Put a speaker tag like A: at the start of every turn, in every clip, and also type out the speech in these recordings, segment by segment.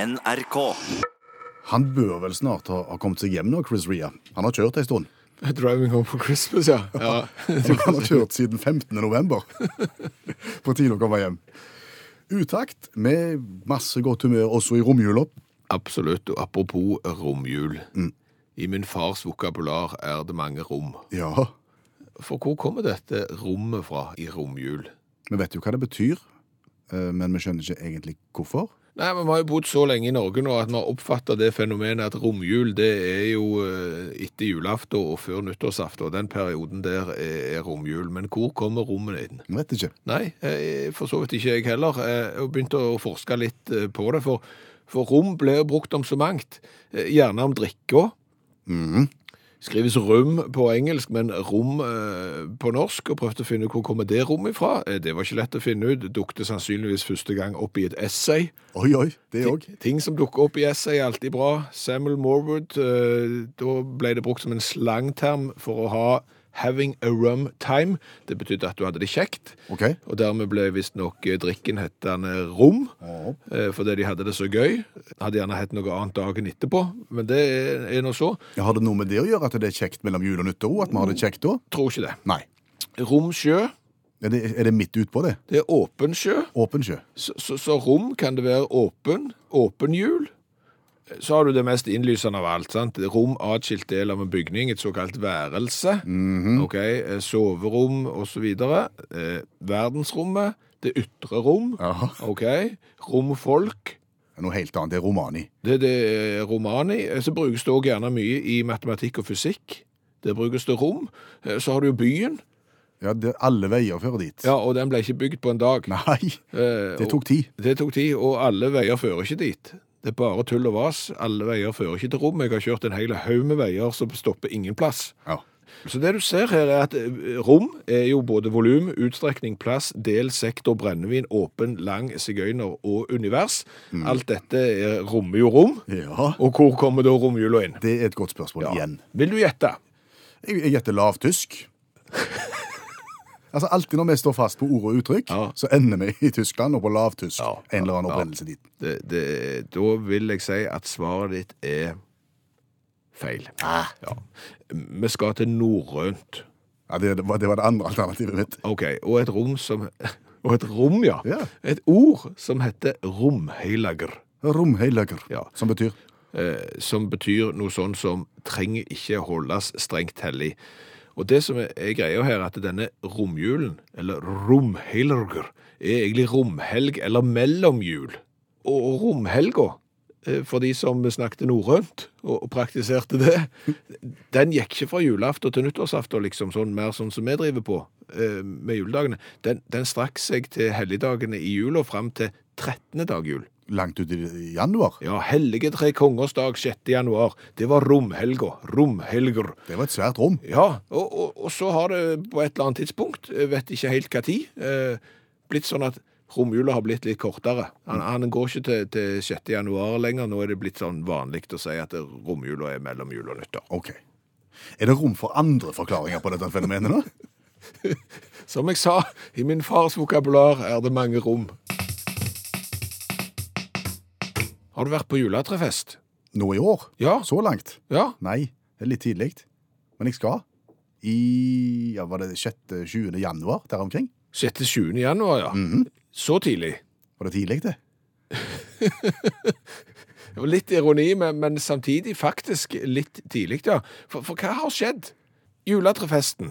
A: NRK.
B: Han bør vel snart ha, ha kommet seg hjem nå, Chris Rea. Han har kjørt ei stund.
C: 'Driving Home for Christmas', ja. ja.
B: Han har kjørt siden 15. november. På tide å komme hjem. Utakt, med masse godt humør også i romjula.
C: Absolutt. Og apropos romjul. I min fars vokabular er det mange rom.
B: Ja,
C: For hvor kommer dette rommet fra i romjul?
B: vi vet jo hva det betyr, eh, men vi skjønner ikke egentlig hvorfor.
C: Nei, men Vi har jo bodd så lenge i Norge nå at vi har oppfatta det fenomenet at romjul det er jo eh, etter julaften og før nyttårsaften. og Den perioden der er er romjul. Men hvor kommer rommene inn?
B: Vi vet ikke.
C: Nei, eh, for så vidt ikke jeg heller. Eh, Jeg begynte å forske litt eh, på det, for, for rom ble jo brukt om så mangt. Eh, Gjerne om drikka.
B: Mhm.
C: Skrives rum på engelsk, men rom eh, på norsk, og prøvde å finne ut hvor kommer det rommet ifra. Eh, Det var ikke lett å finne ut. Dukte sannsynligvis første gang opp i et essay.
B: Oi, oi, det òg.
C: Ting, ting som dukker opp i essay er alltid bra. Samuel Morwood, eh, da ble det brukt som en slangterm for å ha 'having a rum time'. Det betydde at du hadde det kjekt,
B: OK.
C: og dermed ble visstnok eh, drikken hettende rom, eh, fordi de hadde det så gøy. Hadde gjerne hett noe annet dagen etterpå, men det er- er nå så.
B: Ja, har det noe med det å gjøre at det er kjekt mellom jul og nyttår? At vi har det kjekt da?
C: Tror ikke det.
B: Nei.
C: Rom sjø,
B: Er det, er det midt utpå det?
C: det er åpen sjø.
B: Åpen sjø.
C: Så, så, så rom kan det være åpen, åpen hjul. Så har du det mest innlysende av alt. sant? Rom atskilt del av en bygning, et såkalt værelse.
B: Mm. Mhm.
C: ok, eh, Soverom osv. Eh, verdensrommet, det ytre rom.
B: Jaha.
C: ok, Romfolk.
B: Noe helt annet. Det er romani.
C: Det, det er romani. Eh, Så brukes det òg gjerne mye i matematikk og fysikk. Der brukes det rom. Eh, Så har du jo byen,
B: Ja, det er alle veier fører dit.
C: ja, og den ble ikke bygd på en dag.
B: Nei,
C: Eh,
B: det
C: og-
B: tok tid.
C: Det tok tid, og alle veier fører ikke dit. Det er bare tull og vas. Alle veier fører ikke til rom. Jeg har kjørt en hel haug med veier som stopper ingen plass.
B: Ja.
C: Så det du ser her er at eh, rom er jo både volum, utstrekning, plass, del, sektor, brennevin, åpen, lang, sigøyner og univers. Alt dette er, rommer jo rom.
B: ja.
C: Og hvor kommer da romjula inn?
B: Det er et godt spørsmål igjen.
C: Vil du gjette?
B: Jeg jeg gjetter lavtysk. altså Alltid når vi står fast på ord og uttrykk,
C: Ja.
B: så ender vi i Tyskland og på lavtysk.
C: Ja.
B: En eller annen
C: Ja.
B: opprinnelse dit.
C: Det, det, da vil jeg si at svaret ditt er feil. Ja. Vi skal til norrønt.
B: Ja, det, det var, det var det andre alternativet mitt.
C: Ok, og et rom som Og et rom, ja.
B: Ja.
C: Et ord som heter romheilager.
B: Romheiløker,
C: Ja.
B: som betyr
C: Eh, som betyr noe sånn som trenger ikke holdes strengt hellig. Og det som er er greia her, er at denne romjulen, eller romheilager, er egentlig romhelg eller mellomjul. Og og romhelga, eh, for de som snakket norrønt og og praktiserte det, den gikk ikke fra julaften til nyttårsaften, liksom, sånn, mer sånn som vi driver på eh, med juledagene. Den, den strakk seg til helligdagene i jula fram til 13. dag jul.
B: langt ut i i januar.
C: Ja, hellige tre kongers dag 6. januar. Det var romhelga. Romhelger.
B: Det var et svært rom.
C: Ja, og, og, og så har det på et eller annet tidspunkt, jeg vet ikke helt hva tid, eh, blitt sånn at romjula har blitt litt kortere. Han, han går ikke til, til 6. januar lenger. Nå er det blitt sånn vanlig å si at romjula er mellom jul og nyttår.
B: Ok. Er det rom for andre forklaringer på dette fenomenet nå?
C: Som jeg sa, i min fars vokabular er det mange rom. Har du vært på juletrefest?
B: Nå i år?
C: Ja.
B: Så langt?
C: Ja.
B: Nei, det er litt tidlig. Men jeg skal. I ja, var det 6.-20. januar, der omkring? Mhm.
C: 6.-7. januar, ja. Så tidlig.
B: Var det tidlig, det?
C: Det var litt ironi, men, men samtidig faktisk litt tidlig, ja. For, for hva har skjedd? Juletrefesten.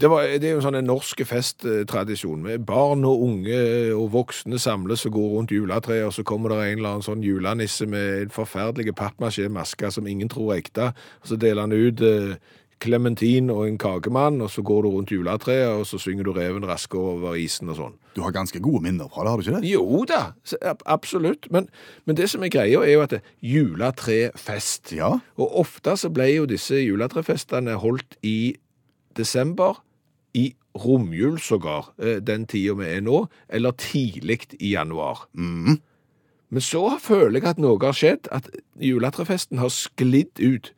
C: Det, var, det er jo en sånn en norsk festtradisjon med barn og unge og voksne samles og går rundt juletreet, og så kommer det en eller annen sånn julenisse med en forferdelig pappmasjé-maske som ingen tror er ekte, og så deler han ut eh, klementin og en kakemann, og så går du rundt juletreet, og så synger du reven raske over isen og sånn.
B: Du har ganske gode minner fra det, har du ikke det?
C: Jo da, s- ab- absolutt. Men, men det som er greia, er jo at det- juletrefest
B: Ja.
C: Og ofte så ble jo disse juletrefestene holdt i desember, i romjul sågar, eh, den tida vi er nå, eller tidlig i januar. Mm. Men så føler jeg at noe har skjedd, at juletrefesten har sklidd ut.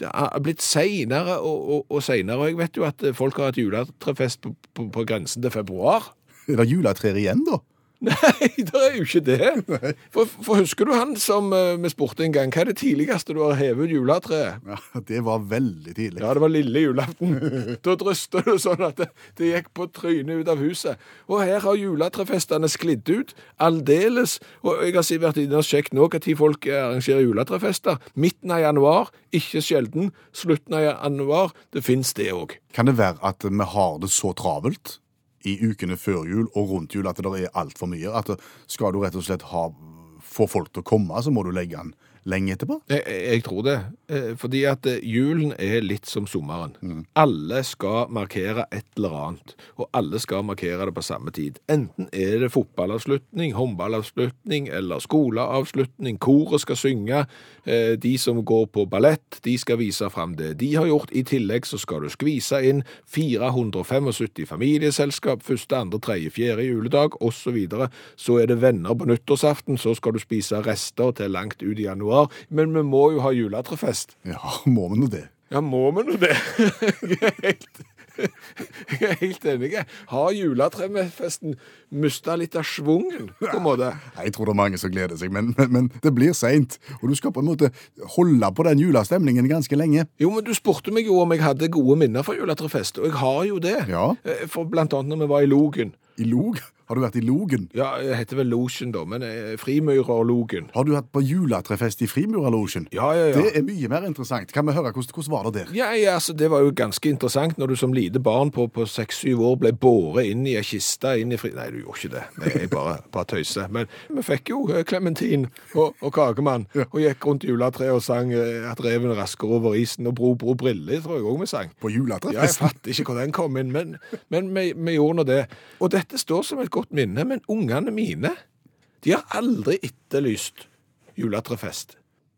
C: Det har blitt seinere og, og, og seinere, og jeg vet jo at folk har hatt juletrefest på, på, på grensen til februar.
B: Er det juletrær igjen, da?
C: Nei, det er jo ikke det. For, for husker du han som eh, vi spurte en gang, hva er det tidligste du har hevet ut juletreet?
B: Ja, det var veldig tidlig.
C: Ja, det var lille julaften. Da drøste du sånn at det, det gikk på trynet ut av huset. Og her har juletrefestene sklidd ut, aldeles. Og jeg har si- vært inne og sjekket nå hva tid folk eh, arrangerer juletrefester. Midten av januar, ikke sjelden. Slutten av januar, det finnes det òg.
B: Kan det være at vi har det så travelt i ukene før jul og rundt jul at det er altfor mye? At det- skal du rett og slett ha, få folk til å komme, så må du legge den lenge etterpå?
C: Jeg, eh, jeg tror det. Eh, Fordi at eh, julen er litt som sommeren. Alle skal markere et eller annet, og alle skal markere det på samme tid. Enten er det fotballavslutning, håndballavslutning eller skoleavslutning. Koret skal synge. eh, De som går på ballett, de skal vise fram det de har gjort. I tillegg så skal du skvise inn 475 familieselskap første, andre, tredje, fjerde juledag osv. Så, videre. så er det venner på nyttårsaften, så skal du spise rester til langt ut i januar. Men vi må jo ha juletrefest.
B: Ja, må vi nå det?
C: Ja, må vi nå det? Jeg er helt, jeg er helt enig. Har juletrefesten mista litt av schwungen, på en måte?
B: Nei, Jeg tror det er mange som gleder seg, men, men, men det blir seint. Og du skal på en måte holde på den julestemningen ganske lenge.
C: Jo, men du spurte meg jo om jeg hadde gode minner fra juletrefest, og jeg har jo det.
B: Ja.
C: Eh, For blant annet når vi var i Logen.
B: I log? Har du vært i Logen?
C: Ja, jeg heter vel Logen da, men eh, Frimyra og Logen.
B: Har du vært på juletrefest i Frimuralosjen?
C: Ja, ja, ja.
B: Det er mye mer interessant. Kan vi høre hvordan, hvordan var det der?
C: Ja, ja, altså Det var jo ganske interessant når du som lite barn på på seks-syv år ble båret inn i ei kiste inn i fri... Nei, du gjorde ikke det. Nei, jeg bare, bare tøyser. Men vi fikk jo klementin og, og kakemann og gikk rundt juletreet og sang eh, at reven rasker over isen og Bro Bro Brille, tror jeg òg vi sang.
B: På
C: Ja, jeg
B: juletrefest?
C: fatter ikke hvor den kom inn, men, men vi, vi gjorde nå det. Og dette står som et godt minne, men ungene mine de har aldri etterlyst juletrefest.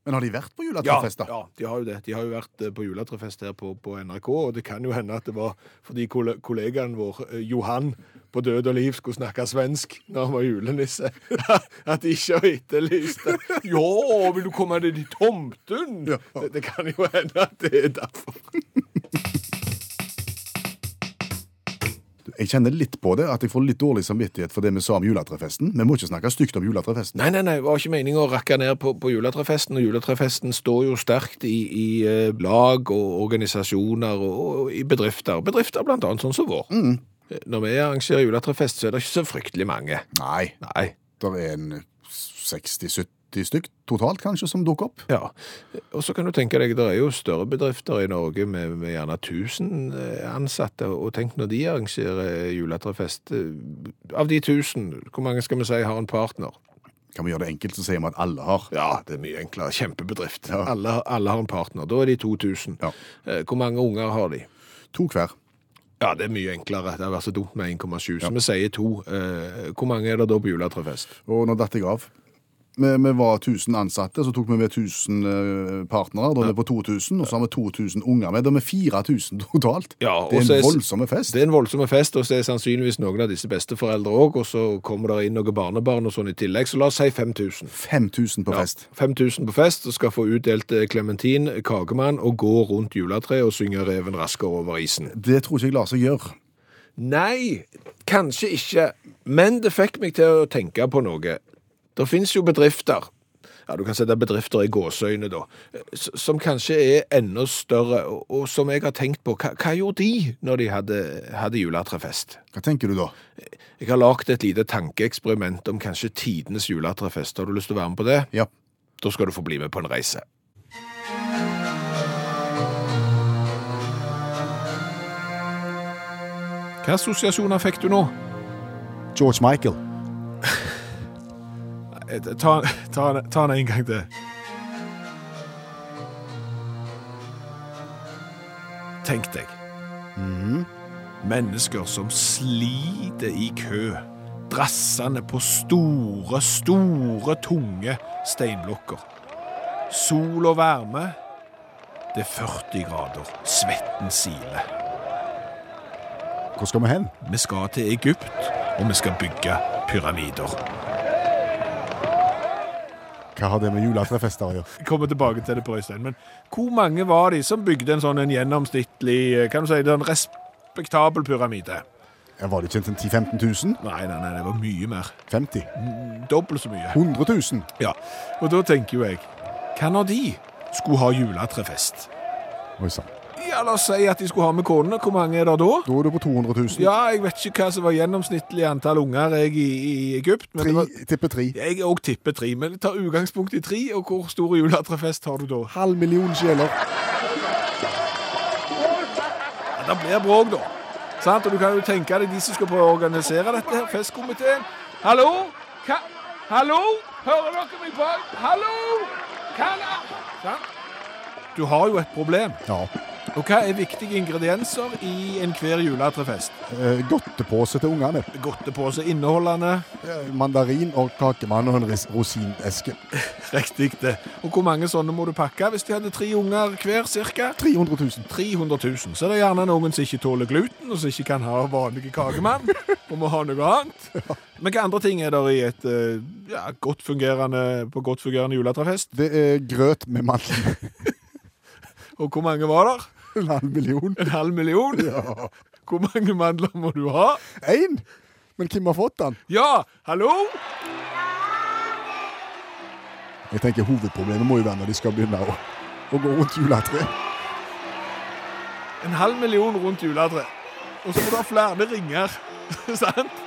B: Men har de vært på
C: Ja,
B: juletrefest, da?
C: ja, de har jo det. De har jo vært eh, på juletrefest her på, på NRK, og det kan jo hende at det var fordi kolle- kollegaen vår, eh, Johan, på død og liv skulle snakke svensk når han var julenisse, at de ikke har etterlyst det. Ja, vil du komme deg til tomten?
B: Ja.
C: Det, det kan jo hende at det er derfor.
B: Jeg kjenner litt på det, at jeg får litt dårlig samvittighet for det vi sa om juletrefesten. Vi må ikke snakke stygt om juletrefesten.
C: Nei, nei, nei, det var ikke meningen å rakke ned på, på juletrefesten, og juletrefesten står jo sterkt i, i eh, lag og organisasjoner og, og i bedrifter. Bedrifter blant annet sånn som vår.
B: Mm.
C: Når vi arrangerer juletrefest, så er det ikke så fryktelig mange.
B: Nei,
C: Nei.
B: det er en 60-70 stykk totalt, kanskje, som dukker opp.
C: Ja, og så kan du tenke deg, det er jo større bedrifter i Norge med, med gjerne 1000 eh, ansatte, og tenk når de arrangerer juletrefest. eh, Av de 1000, hvor mange skal vi si har en partner?
B: Kan vi gjøre det enkelt, så sier vi at alle har.
C: Ja, det er mye enklere. Kjempebedrift.
B: Ja.
C: Alle, alle har en partner. Da er de 2000.
B: Ja.
C: Eh, Hvor mange unger har de?
B: To hver.
C: Ja, det er mye enklere. Det har vært så dumt med 1,7. Så vi sier to. Eh, Hvor mange er det da på juletrefest?
B: Og nå datt jeg av. Vi, vi var 1000 ansatte, så tok vi med 1000 eh, partnere. Da er vi på 2000, og så har vi 2000 unger med. Da er vi 4000 totalt.
C: Ja,
B: det
C: og
B: er
C: så er-
B: en voldsom fest.
C: Det er en voldsom fest, og så er sannsynligvis noen av disse besteforeldre òg, og så kommer det inn noen barnebarn og sånn i tillegg, så la oss si 5000.
B: 5000 på fest.
C: 5000 på fest, og skal få utdelt eh, klementin, kakemann, og gå rundt juletreet og synge Reven raskere over isen.
B: Det tror ikke jeg lar seg gjøre.
C: Nei, kanskje ikke. Men det fikk meg til å tenke på noe. Det finnes jo bedrifter, ja, du kan sette bedrifter i gåseøyne da, s- som kanskje er enda større, og- og som jeg har tenkt på, hva, hva gjorde de når de hadde, hadde juletrefest?
B: Hva tenker du da?
C: Jeg har lagt et lite tankeeksperiment om kanskje tidenes juletrefest. Har du lyst til å være med på det?
B: Ja.
C: Da skal du få bli med på en reise. Hva assosiasjoner fikk du nå?
B: George Michael.
C: Eh, Ta, ta, ta den en gang til. Tenk deg. Mennesker som sliter i kø, drassende på store, store, tunge steinblokker. Sol og varme. Det er 40 grader. Svetten siler.
B: Hvor skal vi hen?
C: Vi skal til Egypt, og vi skal bygge pyramider.
B: Hva har det med juletrefester å gjøre?
C: kommer tilbake til det på Øystein, men hvor mange eh, var de som bygde en sånn en gjennomsnittlig, kan du si, en respektabel pyramide?
B: Ja, Var det ikke en 10 000-15 000?
C: Nei, nei, nei, det var mye mer.
B: 50 000?
C: Dobbelt så mye.
B: 100 000?
C: Ja, og da tenker jo jeg, hva når de skulle ha juletrefest?
B: Oi sann.
C: Ja, la oss si at de skulle ha med konene. Hvor mange er det da?
B: Da er du på 200 000.
C: Ja, jeg vet ikke hva som var gjennomsnittlig antall unger jeg i, i Egypt. Men
B: Tre,
C: det var,
B: tipper tre.
C: jeg òg tipper tre, men jeg tar utgangspunkt i tre. Og hvor stor juletrefest har du da?
B: Halv million sjeler.
C: Ja, det blir bråk, da. Sant? Og du kan jo tenke deg de som skal prøve å organisere dette her, festkomiteen. Hallo? Hva? Hallo? Hører dere meg bak? Hallo? Hva da? Sant? Du har jo et problem.
B: Ja.
C: Og hva er viktige ingredienser i enhver juletrefest?
B: Eh, Godtepose til ungene.
C: Godtepose inneholdende
B: Eh, Mandarin og kakemann og en ris- rosineske.
C: Riktig det. Og hvor mange sånne må du pakke hvis de hadde tre unger hver, cirka?
B: 300 000.
C: 300 000. Så det er gjerne noen som ikke tåler gluten, og som ikke kan ha vanlige kakemann, og må ha noe annet. Men hva andre ting er der i et eh, ja, godt fungerende, på godt fungerende juletrefest?
B: Det er grøt med mandel.
C: Og hvor mange var der?
B: En halv million.
C: En halv million? Hvor mange mandler må du ha?
B: Én! Men hvem har fått den?
C: Ja, hallo?
B: Jeg tenker Hovedproblemet må jo være når de skal begynne å, å gå rundt juletreet.
C: En halv million rundt juletreet. Og så må du ha flere ringer. Sant?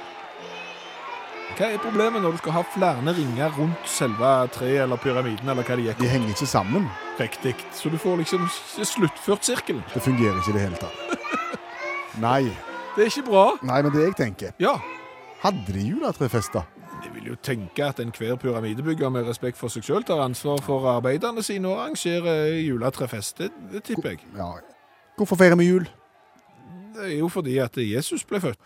C: Hva er problemet når du skal ha flere ringer rundt selve treet eller pyramiden? eller hva det gikk
B: De henger ikke sammen.
C: riktig? Så du får liksom ikke sluttført sirkelen.
B: Det fungerer ikke i det hele tatt. Nei.
C: Det er ikke bra.
B: Nei, men det jeg tenker
C: Ja,
B: Hadde de juletrefest, da?
C: jeg vil jo tenke at enhver pyramidebygger med respekt for seg sjøl tar ansvar for arbeiderne sine og arrangerer juletrefest. Det, det tipper jeg.
B: Ja. Hvorfor feirer vi jul?
C: Det er jo fordi at Jesus ble født.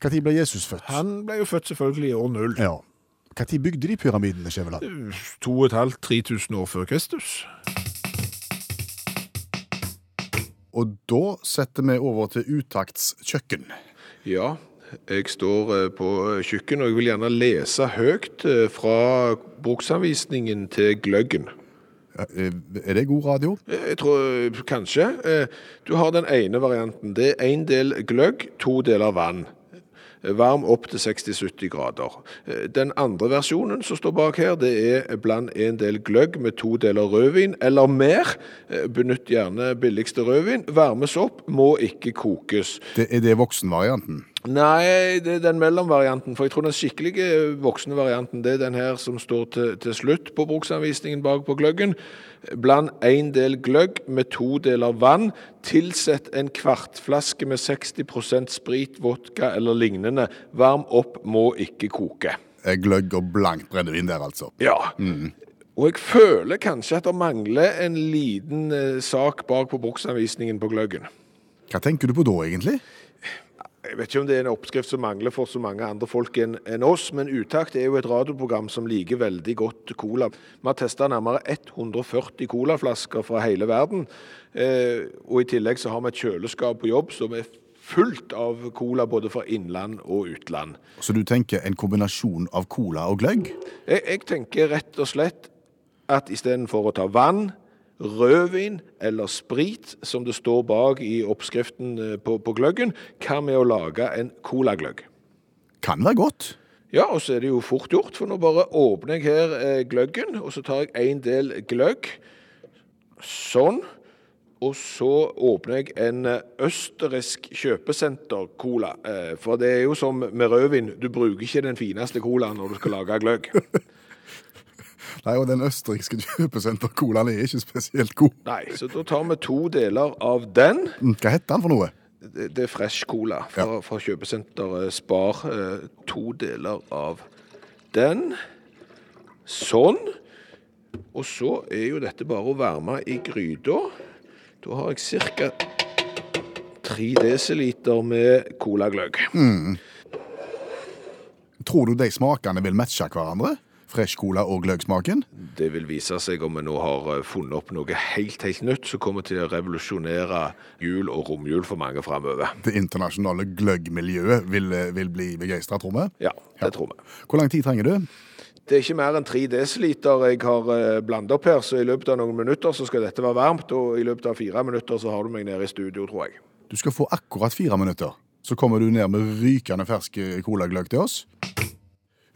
B: Når ble Jesus født?
C: Han ble jo født selvfølgelig i år null.
B: Ja. Når bygde de pyramidene, Skjæveland?
C: 2500-3000 år før Kristus.
B: Og da setter vi over til utakts kjøkken.
C: Ja, jeg står eh, på kjøkkenet, og jeg vil gjerne lese høyt eh, fra bruksanvisningen til gløggen.
B: Eh, Er det god radio?
C: Eh, Jeg tror eh, kanskje. eh, Du har den ene varianten. Det er én del gløgg, to deler vann. Eh, Varm opp til 60-70 grader. Eh, Den andre versjonen som står bak her, det er bland en del gløgg med to deler rødvin eller mer. Eh, Benytt gjerne billigste rødvin. Varmes opp, må ikke kokes.
B: Det er det voksenvarianten.
C: Nei, det er den mellomvarianten. For jeg tror den skikkelige voksne varianten det er den her som står til, til slutt på bruksanvisningen bak på gløggen. Bland én del gløgg med to deler vann. Tilsett en kvartflaske med 60 sprit, vodka eller lignende. Varm opp, må ikke koke.
B: Eh, Gløgg og blankt brennevin der, altså.
C: Ja. Og jeg føler kanskje at det mangler en liten eh, sak bak på bruksanvisningen på gløggen.
B: Hva tenker du på da, egentlig?
C: Jeg vet ikke om det er en oppskrift som mangler for så mange andre folk enn enn oss, men Utakt er jo et radioprogram som liker veldig godt cola. Vi har testa nærmere 140 colaflasker fra hele verden. Eh, og i tillegg så har vi et kjøleskap på jobb som er fullt av cola både fra innland og utland.
B: Så du tenker en kombinasjon av cola og gløgg?
C: Jeg, jeg tenker rett og slett at istedenfor å ta vann, rødvin eller sprit, som det står bak i oppskriften eh, på, på gløggen, hva med å lage en colagløgg?
B: Kan være godt.
C: Ja, og så er det jo fort gjort, for nå bare åpner jeg her eh, gløggen, og så tar jeg en del gløgg. Sånn. Og så åpner jeg en eh, østerriksk kjøpesenter-cola. Eh, for det er jo som med rødvin, du bruker ikke den fineste colaen når du skal lage gløgg.
B: Nei, og den østerrikske kjøpesenter-colaen er ikke spesielt god.
C: Nei, så da tar vi to deler av den.
B: Mm, Hva heter den for noe?
C: Det det er fresh cola fra, fra kjøpesenteret Spar. Eh, To deler av den. Sånn. Og så er jo dette bare å varme i gryta. Da har jeg ca. 3 dl med colagløgg.
B: Tror du de smakene vil matche hverandre? Fresh cola og gløggsmaken?
C: Det vil vise seg om vi nå har eh, funnet opp noe helt, helt nytt som kommer til å revolusjonere jul og romjul for mange framover.
B: Det internasjonale gløggmiljøet vil, eh, vil bli begeistra, tror vi.
C: Ja, det tror vi.
B: Hvor lang tid trenger du?
C: Det er ikke mer enn 3 dl jeg har eh, blandet opp her, så i løpet av noen minutter så skal dette være varmt, og i løpet av fire minutter så har du meg nede i studio, tror jeg.
B: Du skal få akkurat fire minutter. Så kommer du ned med rykende fersk colagløgg til oss.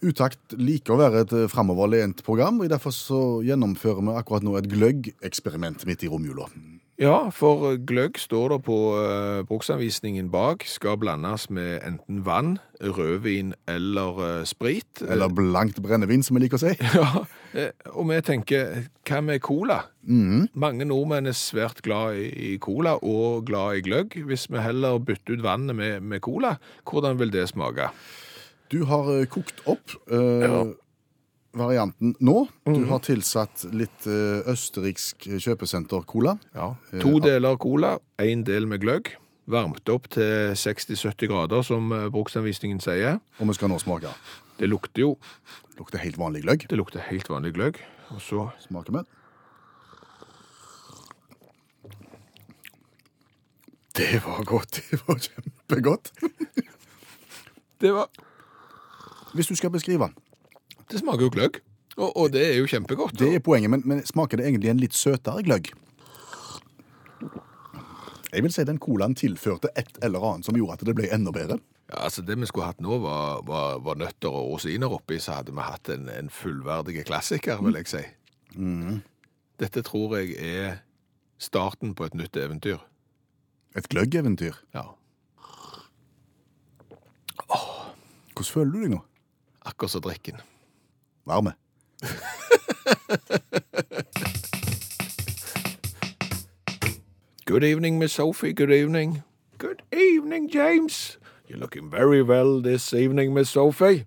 B: Utakt liker å være et eh, framoverlent program, og derfor så gjennomfører vi akkurat nå et gløggeksperiment midt i romjula.
C: Ja, for gløgg står det på eh, bruksanvisningen bak skal blandes med enten vann, rødvin eller eh, sprit.
B: Eller blankt brennevin, som vi liker å si.
C: Ja, eh, og vi tenker, hva med cola? Mange nordmenn er svært glad i i cola og glad i gløgg. Hvis vi heller bytter ut vannet med, med cola, hvordan vil det smake?
B: Du har eh, kokt opp eh, varianten nå. Du har tilsatt litt eh, østerriksk kjøpesenter-cola.
C: Ja. eh, To deler cola, en del med gløgg. Varmt opp til 60-70 grader, som eh, bruksanvisningen sier.
B: Og vi skal nå smake.
C: Det lukter jo,
B: Lukter helt vanlig gløgg.
C: det lukter helt vanlig gløgg. Og så,
B: Smaker med. Det var godt. Det var kjempegodt.
C: det, var,
B: Hvis du skal beskrive den.
C: det smaker jo gløgg. Og, og det er jo kjempegodt.
B: Det er poenget, men, men smaker det egentlig en litt søtere gløgg? Jeg vil si den colaen tilførte et eller annet som gjorde at det ble enda bedre.
C: Ja, altså Det vi skulle hatt nå, var, var, var nøtter og rosiner oppi, så hadde vi hatt en, en fullverdig klassiker, vil jeg si. Mm. Dette tror jeg er starten på et nytt eventyr.
B: Et gløggeventyr.
C: Ja.
B: Hvordan føler du deg nå?
C: Akkurat som drikken.
B: Varme.
C: Good evening, Miss Sophie. Good evening. Good evening, James. You're looking very well this evening, Miss Sophie.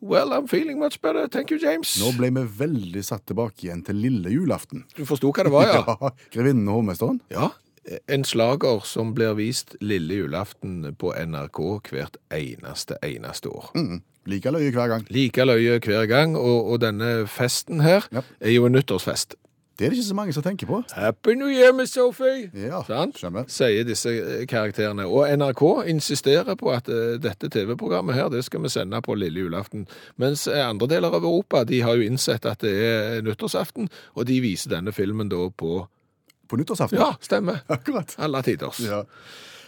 C: Well, I'm feeling much better. Thank you, James.
B: Nå ble vi veldig satt tilbake igjen til lille julaften.
C: Du forsto hva det var, ja?
B: Grevinnen og hovmesteren.
C: Ja. En slager som blir vist lille julaften på NRK hvert eneste, eneste år.
B: Mm. Like løye hver gang.
C: Like løye hver gang, og, og denne festen her
B: Ja.
C: er jo en nyttårsfest.
B: Det er det ikke så mange som tenker på.
C: Happy New Year, Miss Sophie!
B: Ja,
C: Sant?
B: skjønner.
C: Sier disse eh, karakterene. Og NRK insisterer på at eh, dette TV-programmet her, det skal vi sende på lille julaften. Mens eh, andre deler av Europa, de har jo innsett at det er nyttårsaften, og de viser denne filmen da på
B: På nyttårsaften.
C: Ja, stemmer.
B: Akkurat.
C: Alle tiders.
B: Ja.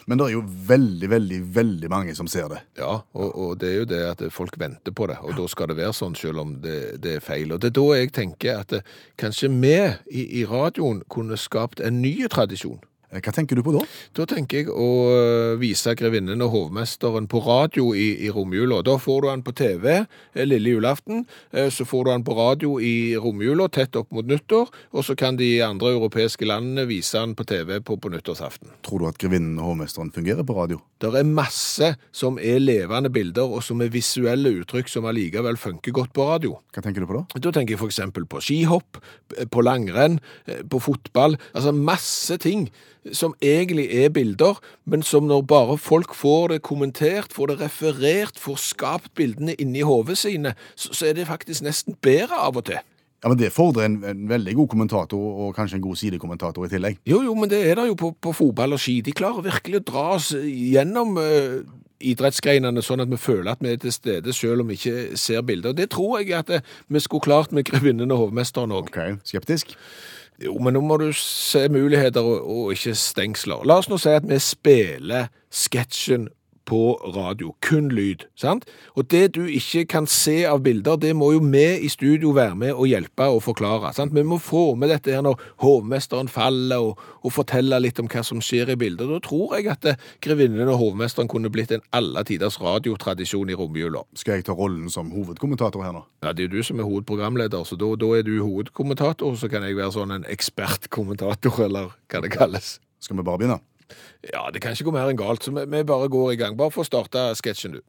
B: Men det er jo veldig, veldig, veldig mange som ser det.
C: Ja, og, og det er jo det at folk venter på det, og da skal det være sånn selv om det, det er feil. Og det er da jeg tenker at eh, kanskje vi i, i radioen kunne skapt en ny tradisjon.
B: Eh, Hva tenker du på da?
C: Da tenker jeg å eh, vise grevinnen og hovmesteren på radio i, i romjula. Da får du han på TV eh, lille julaften, eh, så får du han på radio i romjula tett opp mot nyttår, og så kan de andre europeiske landene vise han på TV på, på nyttårsaften.
B: Tror du at Grevinnen og hovmesteren fungerer på radio?
C: Det er masse som er levende bilder, og som er visuelle uttrykk som allikevel funker godt på radio.
B: Hva tenker du på da?
C: Da tenker jeg for eksempel på skihopp, på langrenn, eh, på fotball. Altså masse ting som egentlig er bilder, men som når bare folk får det kommentert, får det referert, får skapt bildene inni hodet sine, så så er det faktisk nesten bedre av og til.
B: Ja, men Det fordrer en, en veldig god kommentator, og kanskje en god sidekommentator i tillegg.
C: Jo, jo, men det er det jo på, på fotball og ski. De klarer virkelig å dra oss gjennom eh, idrettsgreinene, sånn at vi føler at vi er til stede, selv om vi ikke ser bilder. Det tror jeg at eh, vi skulle klart med grevinnen og hovmesteren òg.
B: Ok, Skeptisk?
C: Jo, men nå må du se muligheter og, og ikke stengsler. La oss nå si at vi spiller sketsjen på radio, kun lyd, sant? Og det du ikke kan se av bilder, det må jo vi i studio være med og hjelpe og forklare, sant? Vi må få med dette her når hovmesteren faller og, og fortelle litt om hva som skjer i bilder. Da tror jeg at eh, grevinnen og hovmesteren kunne blitt en alle tiders radiotradisjon i romjula.
B: Skal jeg ta rollen som hovedkommentator her nå?
C: Ja, det er jo du som er hovedprogramleder, så da, da er du hovedkommentator, så kan jeg være sånn en ekspertkommentator, eller hva det kalles.
B: Skal vi bare begynne?
C: Ja, det kan ikke gå mer enn galt, så vi, vi bare går i gang. Bare få starte sketsjen, du.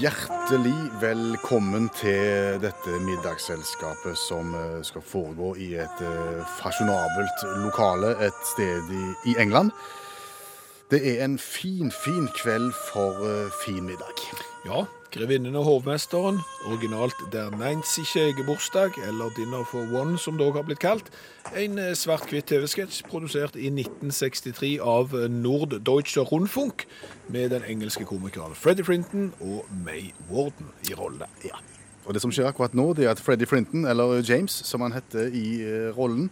B: Hjertelig velkommen til dette middagsselskapet som eh, skal foregå i et eh, fasjonabelt lokale et sted i, i England. Det er en fin, fin kveld for eh, fin middag.
C: Ja, Grevinnen og hovmesteren, originalt Der Nancy ikke er bursdag, eller Dinner for One, som det også har blitt kalt. En eh, svart-hvitt TV-sketsj produsert i 1963 av eh, Norddeutscher Rundfunk, med den engelske komikeren Freddy Frinton og May Warden i rollene.
B: Ja. Og det som skjer akkurat nå, det er at Freddy Frinton, eller James, som han heter i eh, rollen,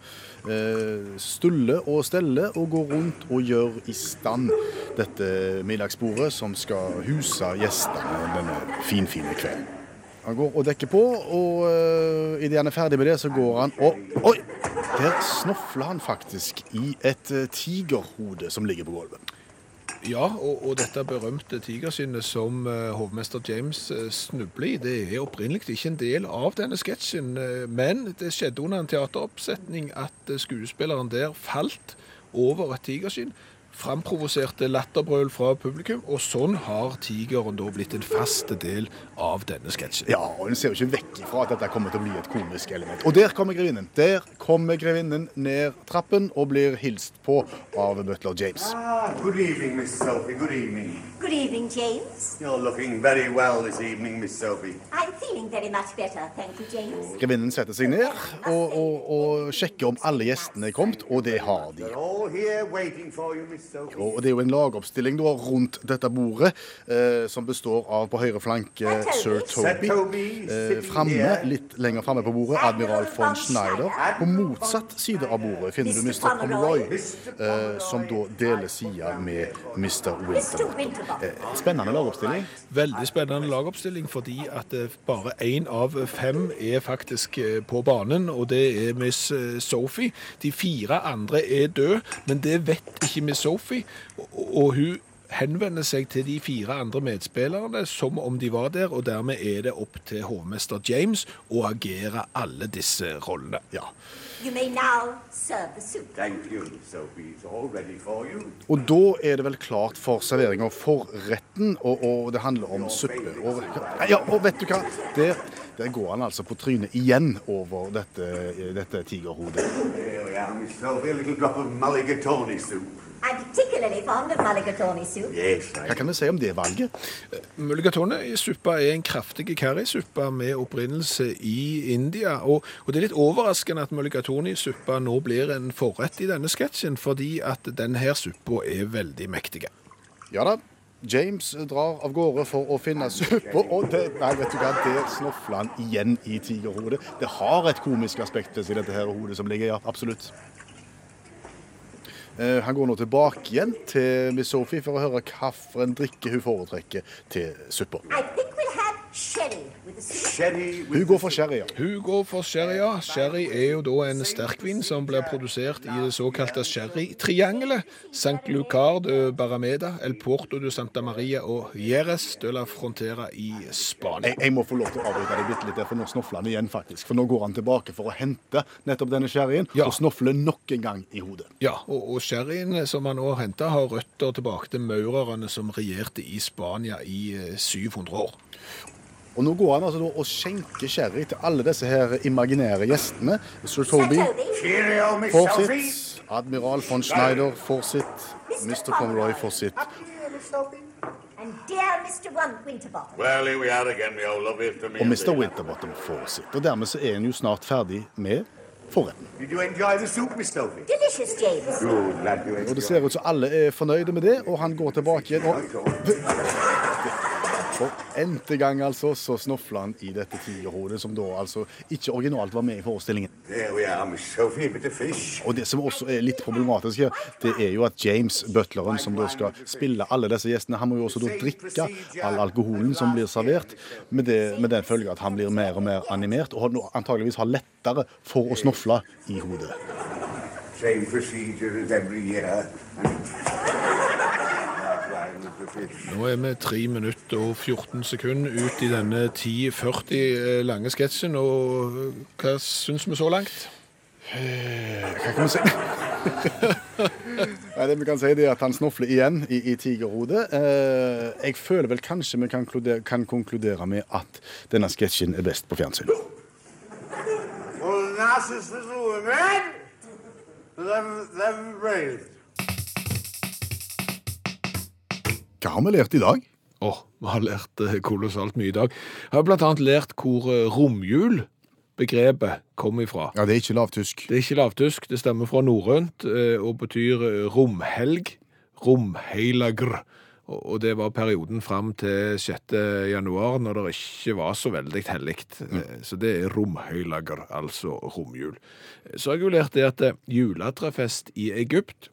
B: eh, stuller og steller og går rundt og gjør i stand dette middagsbordet som skal huse gjestene denne finfine kvelden. Han går og dekker på, og eh, idet han er ferdig med det, så går han og Oi! Der snofler han faktisk i et eh, tigerhode som ligger på gulvet.
C: Ja, og, og dette berømte tigerskinnet som eh, hovmester James eh, snubler i, det er opprinnelig ikke en del av denne sketsjen, eh, men det skjedde under en teateroppsetning at eh, skuespilleren der falt over et tigerskinn, framprovoserte latterbrøl fra publikum, og sånn har tigeren da blitt en fast del av denne sketsjen.
B: Ja, og hun ser jo ikke vekk ifra at dette kommer til å bli et komisk element. Og der kommer grevinnen. Der kommer grevinnen ned trappen og blir hilst på av butler James.
A: Ah, good evening, Miss Sophie. Good evening.
D: Good evening, James.
A: You're looking very well this evening, Miss Sophie.
D: I'm feeling very much better, thank you, James.
B: Grevinnen setter seg ned og, og, og sjekker om alle gjestene er kommet, og det har de.
A: They're all here waiting for you, Miss Sophie.
B: Og det er jo en lagoppstilling da, rundt dette bordet, eh, som består av på høyre flanke sir
A: Sir
B: Toby.
A: Toby,
B: Eh,
A: sitting
B: framme,
A: here.
B: litt lenger framme på bordet, admiral von Schneider. På motsatt side av bordet finner du Mr. Pomeroy, eh, som da deler sida med Mr.
D: Mr.
B: Winter.
D: Winterbottom.
B: Eh, Spennende lagoppstilling.
C: Veldig spennende lagoppstilling, fordi at eh, bare én av fem er faktisk eh, på banen, og det er Miss eh, Sophie. De fire andre er døde, men det vet ikke Miss Sophie. Og, og hun henvender seg til de fire andre medspillerne som om de var der, og dermed er det opp til hovmester James å agere alle disse rollene.
B: Ja.
D: You may now serve the soup.
A: Thank you, Miss Sophie. It's all ready for you.
B: Og da er det vel klart for serveringa for retten, og, og det handler om suppe. Og, ja, og vet du hva? Der, der går han altså på trynet igjen over dette, dette tigerhodet.
A: Here we are, Miss Sophie. A little drop of mulligatawny soup.
D: I'm particularly fond of mulligatawny soup.
A: Yes, I
B: Hva kan vi si om det valget?
C: Mulligatone i suppa er en kraftig currysuppe med opprinnelse i India. Og, og det er litt overraskende at mulligatone i suppa nå blir en forrett i denne sketsjen, fordi at denne suppa er veldig mektig.
B: Ja da. James drar av gårde for å finne suppa, og det, nei, vet du hva, der snofler han igjen i tigerhodet. Det har et komisk aspekt i dette her hodet som ligger, ja, absolutt. Eh, Han går nå tilbake igjen til Miss Sophie for å høre hvilken drikke hun foretrekker til suppa.
D: I think we'll have sherry with the soup.
A: sherry with
B: Hun går for sherry, ja.
C: Hun går for sherry, ja. Sherry er jo da en sterkvin som blir produsert i det såkalte sherrytriangelet. St. Lucar de Barameda, El Porto de Santa Maria og Jerez de la Frontera i Spania.
B: Jeg, jeg må få lov til å avbryte deg bitte litt der, for nå snofler han igjen, faktisk. For nå går han tilbake for å hente nettopp denne sherryen,
C: Ja.
B: og snofler nok en gang i hodet.
C: Ja, og, og sherryen som han nå henta, har røtter tilbake til maurerne som regjerte i Spania i eh, 700 år.
B: Og nå går han altså da og skjenker sherry til alle disse her imaginære gjestene. Sir Toby
D: Toby,
A: Cheerio, Miss
B: får
A: Sophie.
B: sitt. Admiral von Schneider får sitt. Mr. Pomeroy får sitt.
A: Here, Miss Sophie.
D: and dear Mr. Win- Winterbottom.
A: Well, here we are again, me old love. After me
B: Og
A: and
B: Mr.
A: the-
B: Winterbottom får sitt. Og dermed så er han jo snart ferdig med forretten.
A: Did you enjoy the soup, Miss Sophie?
D: Delicious, James.
A: Good lad, you
B: Og det
A: enjoyed.
B: ser ut som alle er fornøyde med det, og han går tilbake igjen. Og, og n-te gang altså, så snofler han i dette tigerhodet, som da altså ikke originalt var med i forestillingen.
A: There we are, Miss Sophie. A bit of fish.
B: Og det som også er litt problematisk her, det er jo at James, butleren, som da skal spille alle disse gjestene, han må jo også da drikke all alkoholen som blir servert, med, det, med den følge at han blir mer og mer animert, og nå antageligvis har lettere for å snofle i hodet.
A: Same procedure as every year. Outline of the fish.
C: Nå er vi 3 minutter og 14 sekunder ut i denne 10-40 lange sketsjen, og eh, hva syns vi så langt?
B: Hva kan vi si? Nei, det vi kan si det er at han snofler igjen i, i tigerhodet. Eh, jeg føler vel kanskje vi kan, klude- kan konkludere med at denne sketsjen er best på fjernsyn.
A: Well, Narcissus little women, they've, they've raised.
B: Hva har vi lært i dag?
C: Åh, vi har lært eh, kolossalt mye i dag. Jeg har blant annet lært hvor eh, romjul-begrepet kom ifra.
B: Ja, det er ikke lavtysk.
C: Det er ikke lavtysk, det stemmer fra norrønt eh, og betyr eh, romhelg, romheilagr Og og det var perioden fram til 6. januar, når det ikke var så veldig hellig. Eh, Så det er romhøylager, altså romjul. Så har jeg jo lært det at eh, juletrefest i Egypt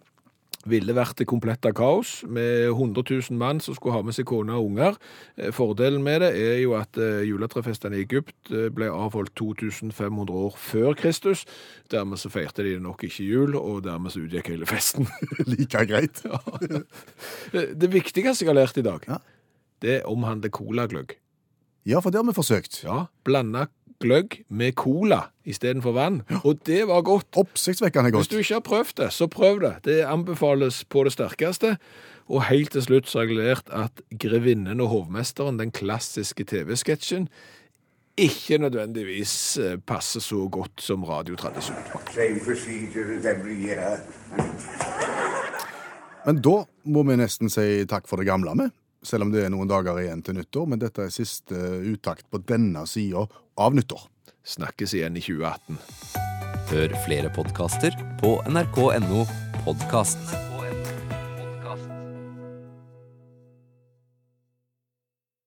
C: ville vært det komplette kaos, med 100 000 mann som skulle ha med seg kone og unger. Eh, Fordelen med det er jo at eh, juletrefestene i Egypt eh, ble avholdt 2500 år før Kristus. Dermed så feirte de nok ikke jul, og dermed så utgikk hele festen. Eh,
B: Like greit.
C: det viktigste jeg har lært i dag,
B: Ja.
C: det omhandler colagløgg.
B: Ja, for det har vi forsøkt.
C: Ja, blanda gløgg med cola istedenfor vann, og det var godt.
B: Oppsiktsvekkende
C: Hvis
B: godt.
C: du ikke har prøvd det, så prøv det. Det anbefales på det sterkeste. Og helt til slutt så har jeg lært at Grevinnen og hovmesteren, den klassiske TV-sketsjen, ikke nødvendigvis eh, passer så godt som radiotradisjon.
E: Same procedure as every year.
B: Men da må vi nesten si takk for det gamle med, selv om det er noen dager igjen til nyttår. Men dette er siste uttakt på denne sida av nyttår.
C: Snakkes igjen i 2018.
F: Hør flere podkaster på nrk.no podkast.